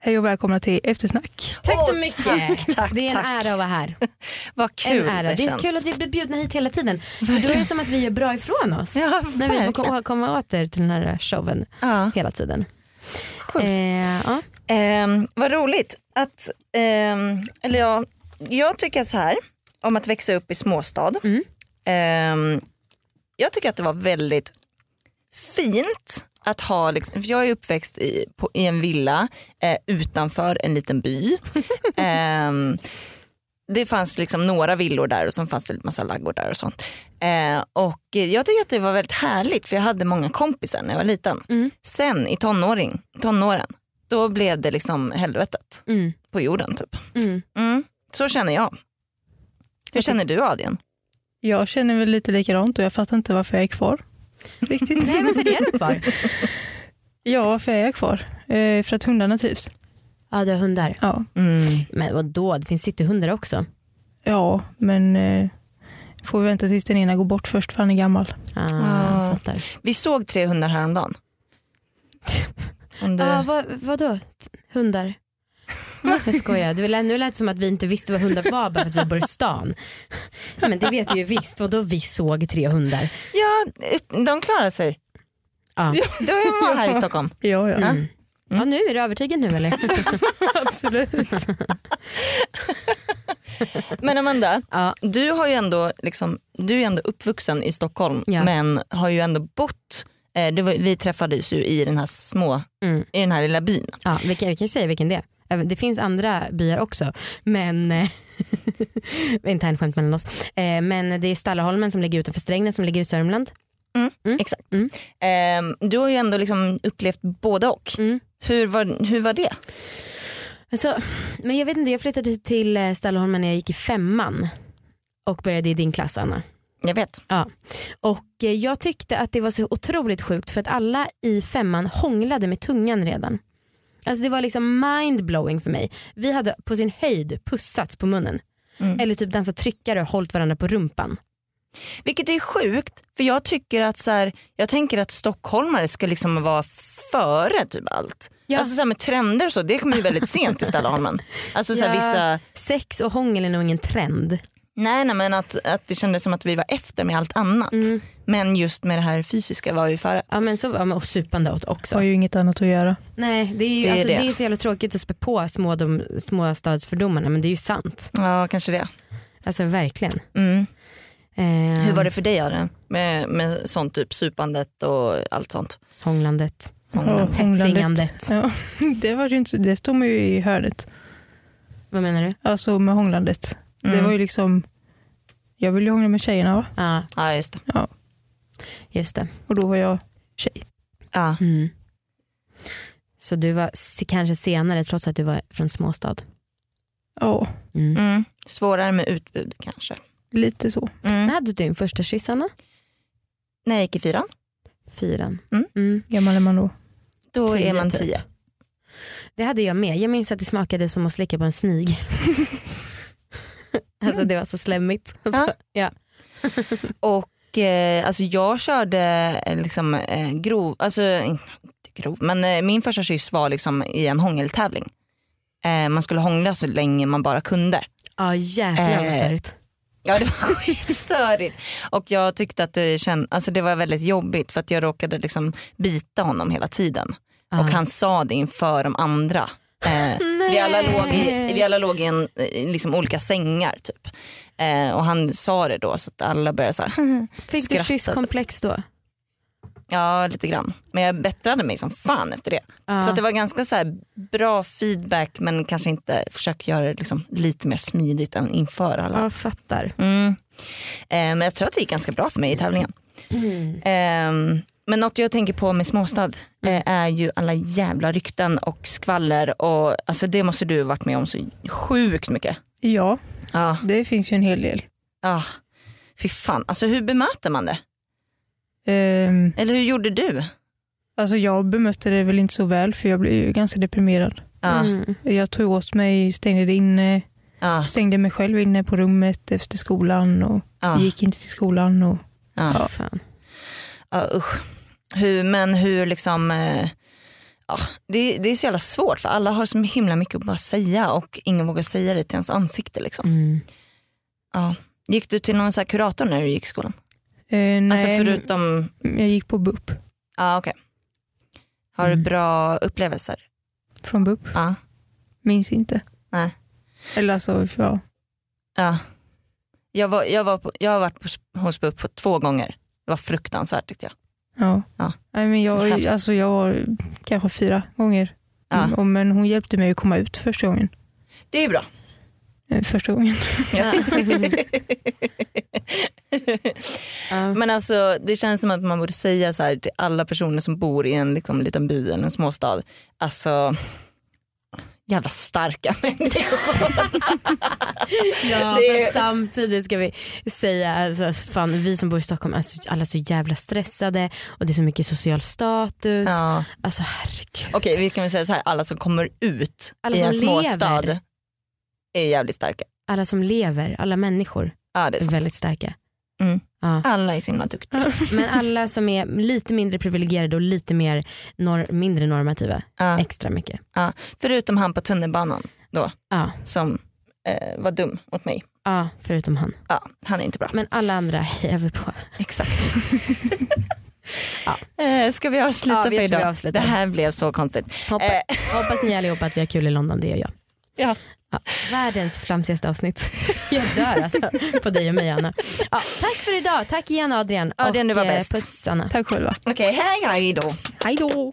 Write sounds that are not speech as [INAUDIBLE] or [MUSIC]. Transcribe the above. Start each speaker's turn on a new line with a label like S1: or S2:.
S1: Hej och välkomna till Eftersnack.
S2: Tack så
S3: Åh,
S2: mycket.
S3: Tack, tack,
S2: det är en
S3: tack.
S2: ära att vara här.
S3: Vad kul
S2: en ära. Det, är
S3: känns.
S2: kul att vi blir bjudna hit hela tiden. För då är det som att vi gör bra ifrån oss.
S3: Ja,
S2: när vi får
S3: verkligen.
S2: ko- komma åter till den här showen
S3: Ja.
S2: hela tiden.
S3: Sjukt.
S2: Eh, ja.
S3: Ehm, vad roligt. Att, ehm, eller ja, jag tycker så här om att växa upp i småstad.
S2: Mm.
S3: Ehm, jag tycker att det var väldigt fint att ha, liksom, för jag är uppväxt i, på, i en villa eh, utanför en
S2: [LAUGHS]
S3: liten by. Ehm, det fanns liksom några villor där och så fanns det en massa laggor där och sånt. Eh, och jag tycker att det var väldigt härligt för jag hade många kompisar när jag var liten.
S2: Mm.
S3: Sen i tonåring, tonåren, då blev det liksom helvetet
S2: Mm,
S3: på jorden typ.
S2: mm.
S3: Mm. Så känner jag. Hur känner du Adrian?
S1: Jag känner väl lite likadant och jag fattar inte varför jag är kvar. Riktigt.
S2: Nej, varför är du kvar?
S1: [LAUGHS] Ja, varför är jag kvar? Eh, för att hundarna trivs.
S2: Ja, du har hundar.
S1: Ja,
S3: Mm.
S2: Men vadå, det finns cityhundar också.
S1: ja men eh, får vi vänta tills den ena går bort först för han är gammal.
S2: Ah,
S3: Ah.
S2: jag fattar.
S3: Vi såg tre hundar häromdagen. Om du...
S2: Ah, vad, vadå, hundar? Ah, Jag skojar, det lät, nu lät det som att vi inte visste vad hundar var bara för att vi bor i stan. Men det vet vi ju visst, vadå vi såg tre hundar?
S3: Ja, de klarar sig.
S2: Ja.
S3: De var här i Stockholm.
S1: Ja, ja.
S2: Mm. Ja, nu är du övertygad nu eller?
S1: [LAUGHS] [LAUGHS] Absolut.
S3: Men Amanda,
S2: Ja.
S3: du, har ju ändå liksom, du är ändå uppvuxen i Stockholm
S2: Ja.
S3: men har ju ändå bott, eh, det var, vi träffades ju i den här små,
S2: [LAUGHS] Mm.
S3: i den här lilla byn.
S2: Ja, vi, kan, vi kan ju säga vilken det är. Även- Det finns andra byar också, men eh, [LAUGHS] internt skämt mellan oss. Eh, Men det är Stallarholmen som ligger utanför Strängnäs som ligger i Sörmland.
S3: Exakt.
S2: Mm.
S3: Eh, du har ju ändå liksom upplevt både och.
S2: Mm.
S3: Hur var, hur var det?
S2: Alltså, men jag vet inte, jag flyttade till eh, Stallarholmen när jag gick i femman och började i din klass Anna.
S3: Jag vet.
S2: Och eh, jag tyckte att det var så otroligt sjukt för att alla i femman hånglade med tungan redan. Alltså det var liksom mindblowing för mig. Vi hade på sin höjd pussats på munnen.
S3: Mm.
S2: Eller typ dansat tryckare och hållit varandra på rumpan.
S3: Vilket är sjukt för jag tycker att så här, jag tänker att stockholmare ska liksom vara före typ allt.
S2: Ja.
S3: Alltså så här med trender och så, det kommer ju väldigt sent i Stallarholmen. Alltså så
S2: Ja.
S3: här, vissa,
S2: Sex och hångel är nog ingen trend.
S3: nej, nej men att, att det kändes som att vi var efter med allt annat.
S2: Mm.
S3: Men just med det här fysiska var vi före.
S2: Ja, men så, ja, men, och supande åt också.
S1: Har ju inget annat att göra.
S2: Nej, det, är ju,
S3: Det är
S2: alltså,
S3: det.
S2: det. är så jävla tråkigt att spä på små, de, småstadsfördomarna men det är ju sant.
S3: Ja kanske det.
S2: Alltså verkligen.
S3: Mm.
S2: Eh,
S3: Hur var det för dig Adrian? Med, med sånt typ supandet och allt sånt. Mm.
S2: Hånglandet,
S1: Ja,
S2: pettingandet.
S1: Ja, [LAUGHS] det, var ju inte, så- det stod man ju i hörnet.
S2: Vad menar du?
S1: Alltså med hånglandet. Det
S3: Mm.
S1: var ju liksom, jag ville ju hångla med tjejerna va?
S2: Ja,
S3: Ja just det.
S2: just det.
S1: Och då var jag tjej.
S3: Ja.
S2: Mm. Så du var se- kanske senare trots att du var från småstad.
S1: Ja,
S2: Mm.
S3: Mm. Svårare med utbud kanske.
S1: lite så.
S3: Mm.
S2: När hade du din första kyss Anna?
S3: När jag gick i fyran,
S2: Fyran.
S3: Mm.
S1: Gammal är man då.
S3: då
S2: Tio,
S3: är man
S2: typ.
S3: tio.
S2: Det hade jag med. Jag minns att det smakade som att slicka på en
S3: [LAUGHS]
S2: snigel. alltså det var så slemmigt. Alltså, ja.
S3: Och eh, alltså jag körde eh, liksom eh, grov, alltså inte grov, men eh, min första kyss var liksom i en hångeltävling. Eh, man skulle hångla så länge man bara kunde.
S2: Alltså, Ja jävlar vad
S3: Eh,
S2: störigt.
S3: Ja det var [LAUGHS] skitstörigt. Och jag tyckte att det, känd, alltså det var väldigt jobbigt för att jag råkade liksom bita honom hela tiden.
S2: Ja.
S3: Och han sa det inför de andra. Eh, vi, alla låg i, vi alla låg i en, i liksom olika sängar typ. Eh, och han sa det då så att alla började så här,
S2: Fick du
S3: skrattade.
S2: kysskomplex då?
S3: Ja, lite grann. Men jag bättrade mig som fan efter det.
S2: Ja.
S3: Så att det var ganska så här bra feedback men kanske inte försök göra det liksom lite mer smidigt än inför alla.
S2: Ja fattar.
S3: Mm. Eh, men jag tror att det gick ganska bra för mig i tävlingen. Eh, men något jag tänker på med småstad
S2: Mm.
S3: eh, är ju alla jävla rykten och skvaller. Och, alltså det måste du ha varit med om så sjukt mycket.
S1: Ja,
S3: Ja.
S1: det finns ju en hel del.
S3: Ah. Fy fan, alltså hur bemöter man det?
S1: Ehm,
S3: Eller hur gjorde du?
S1: alltså jag bemötte det väl inte så väl för jag blev ju ganska deprimerad.
S3: Ja.
S2: Mm.
S1: Jag tog åt mig, stängde det inne,
S3: Ja.
S1: stängde mig själv inne på rummet efter skolan och
S3: Ja.
S1: gick inte till skolan. Och,
S3: Ja.
S2: Fan.
S3: Ja usch. Hur, men hur liksom, eh, ja, det, det är så jävla svårt för alla har så himla mycket att bara säga och ingen vågar säga det till ens ansikte. Liksom.
S2: Mm.
S3: Ja. Gick du till någon så här kurator när du gick i skolan?
S1: Eh, nej,
S3: Alltså förutom,
S1: jag gick på BUP.
S3: ja okej. Har du
S2: Mm.
S3: bra upplevelser?
S1: Från BUP.
S3: Ja.
S1: Minns inte.
S3: Nej.
S1: Eller alltså, ja.
S3: ja. Jag, var, jag, var på, jag har varit på, hos BUP på två gånger. Det var fruktansvärt tyckte jag.
S1: ja.
S3: Ja.
S1: Nej, men
S3: Så
S1: jag,
S3: hemskt. Ah.
S1: alltså, jag var kanske fyra gånger.
S3: Ja.
S1: Mm, och- Men hon hjälpte mig att komma ut första gången.
S3: Det är ju bra.
S1: Eh, Första gången. [LAUGHS]
S2: [LAUGHS]
S3: Ja.
S2: Ja.
S3: Men alltså det känns som att man borde säga så här till alla personer som bor i en liksom, liten by eller en småstad. Alltså jävla starka [LAUGHS] människor.
S2: Ja,
S3: Det är-
S2: men samtidigt ska vi säga, alltså, fan, vi som bor i Stockholm är så, alla så jävla stressade och det är så mycket social status.
S3: ja.
S2: Alltså herregud.
S3: Okej vi kan väl säga så här, alla som kommer ut
S2: Alla
S3: i
S2: som
S3: en småstad
S2: lever.
S3: är jävligt starka.
S2: Alla som lever, alla människor
S3: Ja, det är
S2: är
S3: sant.
S2: väldigt Mm. starka.
S3: Mm.
S2: Ja.
S3: Alla är så himla duktiga.
S2: Men alla som är lite mindre privilegierade och lite mer nor- mindre normativa
S3: Ja.
S2: extra mycket.
S3: Förutom han på tunnelbanan
S2: Ja,
S3: som eh, var dum mot mig.
S2: ja, förutom han.
S3: Ja, han är inte bra.
S2: Men alla andra hejar vi på.
S3: [LAUGHS] Exakt. Eh, Ska vi avsluta
S2: Ja, vi
S3: för
S2: ska
S3: idag?
S2: vi avsluta.
S3: Det här blev så konstigt.
S2: Hoppa,
S3: Eh,
S2: Hoppas ni allihopa att vi har kul i London, det gör jag.
S3: Ja.
S2: Världens flamsigaste avsnitt. [LAUGHS] Jag dör alltså på dig och mig Anna. Ja, tack för idag, tack igen Adrian.
S3: Adrian,
S2: och
S3: du var
S2: eh,
S3: bäst.
S2: puss Anna.
S1: Tack själva.
S3: Okej, hej hej då.
S2: Hej då.